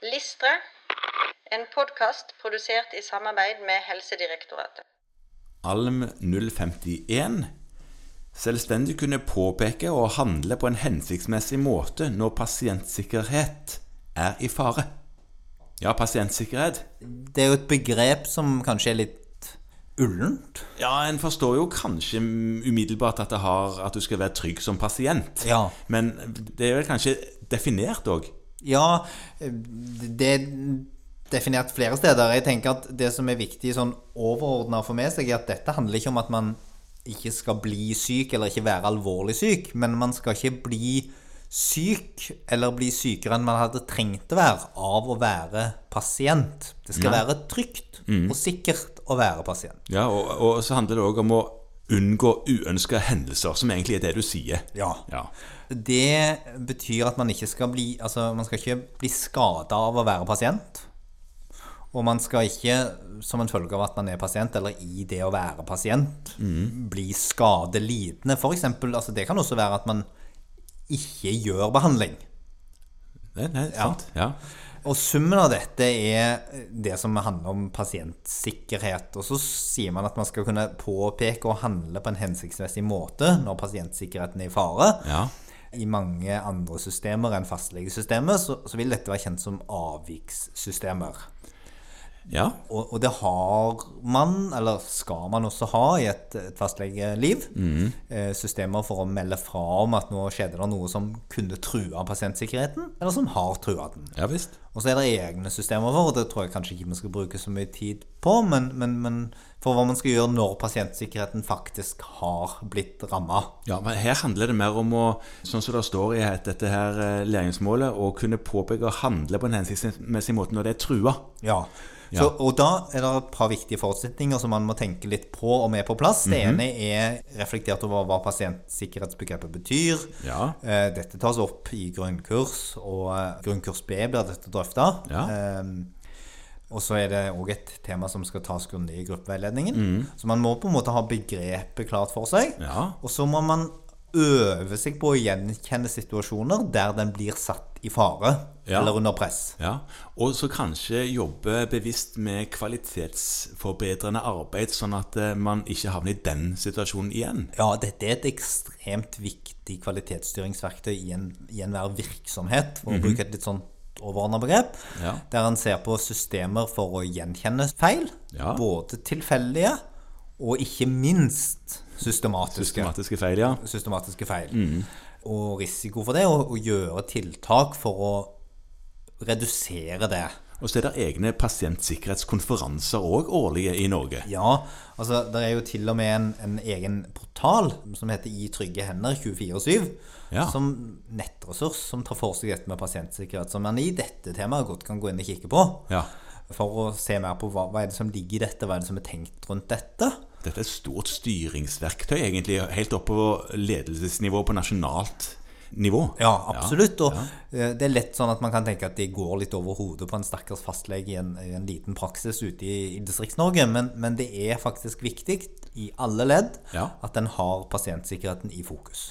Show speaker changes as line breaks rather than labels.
Listre, en podkast produsert i samarbeid med Helsedirektoratet.
Alm 051. Selvstendig kunne påpeke og handle på en hensiktsmessig måte når pasientsikkerhet er i fare. Ja, pasientsikkerhet.
Det er jo et begrep som kanskje er litt ullent.
Ja, en forstår jo kanskje umiddelbart at, det har, at du skal være trygg som pasient.
Ja.
Men det er vel kanskje definert òg.
Ja, det er definert flere steder. Jeg tenker at det som er viktig sånn overordna for meg, er at dette handler ikke om at man ikke skal bli syk eller ikke være alvorlig syk, men man skal ikke bli syk eller bli sykere enn man hadde trengt å være av å være pasient. Det skal være trygt og sikkert å være pasient.
Ja, og, og så handler det òg om å unngå uønska hendelser, som egentlig er det du sier.
Ja.
ja.
Det betyr at man ikke skal bli Altså, man skal ikke bli skada av å være pasient. Og man skal ikke, som en følge av at man er pasient, eller i det å være pasient, bli skadelidende. For eksempel, altså det kan også være at man ikke gjør behandling.
Det, det er sant. Ja.
Og summen av dette er det som handler om pasientsikkerhet. Og så sier man at man skal kunne påpeke og handle på en hensiktsmessig måte når pasientsikkerheten er i fare.
Ja.
I mange andre systemer enn fastlegesystemet så, så vil dette være kjent som avvikssystemer.
ja.
Og, og det har man, eller skal man også ha, i et, et fastlegeliv. Eh, systemer for å melde fra om at nå skjedde det noe som kunne true pasientsikkerheten, eller som har trua den.
Ja visst.
Og så er det egne systemer for, og det tror jeg kanskje ikke vi skal bruke så mye tid på, men, men, men for hva man skal gjøre når pasientsikkerheten faktisk har blitt ramma.
Ja, men Her handler det mer om å sånn som det står i het- dette her eh, læringsmålet, å kunne påpeke og handle på en hensiktsmessig måte når det er trua.
Ja.
Ja.
Så, og da er det et par viktige forutsetninger som man må tenke litt på om er på plass. Det
Mhm.
ene er reflektert over hva pasientsikkerhetsbegrepet betyr.
Ja.
Eh, Dette tas opp i grunnkurs, og eh, grunnkurs B blir dette drøfta.
Ja.
Ehm, Og så er det òg et tema som skal tas grundig i gruppeveiledningen. Så man må på en måte ha begrepet klart for seg.
Mhm. Ja.
Og så må man øve seg på å gjenkjenne situasjoner der den blir satt i fare
Ja.
eller under press.
Ja, Og så kanskje jobbe bevisst med kvalitetsforbedrende arbeid, sånn at eh, man ikke havner i den situasjonen igjen.
Ja, dette er et ekstremt viktig kvalitetsstyringsverktøy i, en, i enhver virksomhet, for å bruke et litt sånn overordnet begrep,
Mhm. Ja.
der en ser på systemer for å gjenkjenne feil,
Ja.
både tilfeldige og ikke minst systematiske,
Systematiske feil, ja.
systematiske feil.
Mhm.
Og risiko for det, og, og gjøre tiltak for å redusere det.
Og så er det egne pasientsikkerhetskonferanser òg årlige i Norge.
Ja, altså det er jo til og med en, en egen portal som heter I trygge hender 24-7,
Ja.
som nettressurs som tar for seg dette med pasientsikkerhet, som man i dette temaet godt kan gå inn og kikke på.
Ja.
For å se mer på hva, hva er det som ligger i dette, hva er det som er tenkt rundt dette.
Dette er et stort styringsverktøy, egentlig, helt opp på ledelsesnivå, på nasjonalt nivå.
Ja, absolutt. Og eh, det er lett sånn at man kan tenke at de går litt over hodet på en stakkars fastlege i en, i en liten praksis ute i, i Distrikts-Norge, men, men det er faktisk viktig i alle ledd
Ja.
at en har pasientsikkerheten i fokus.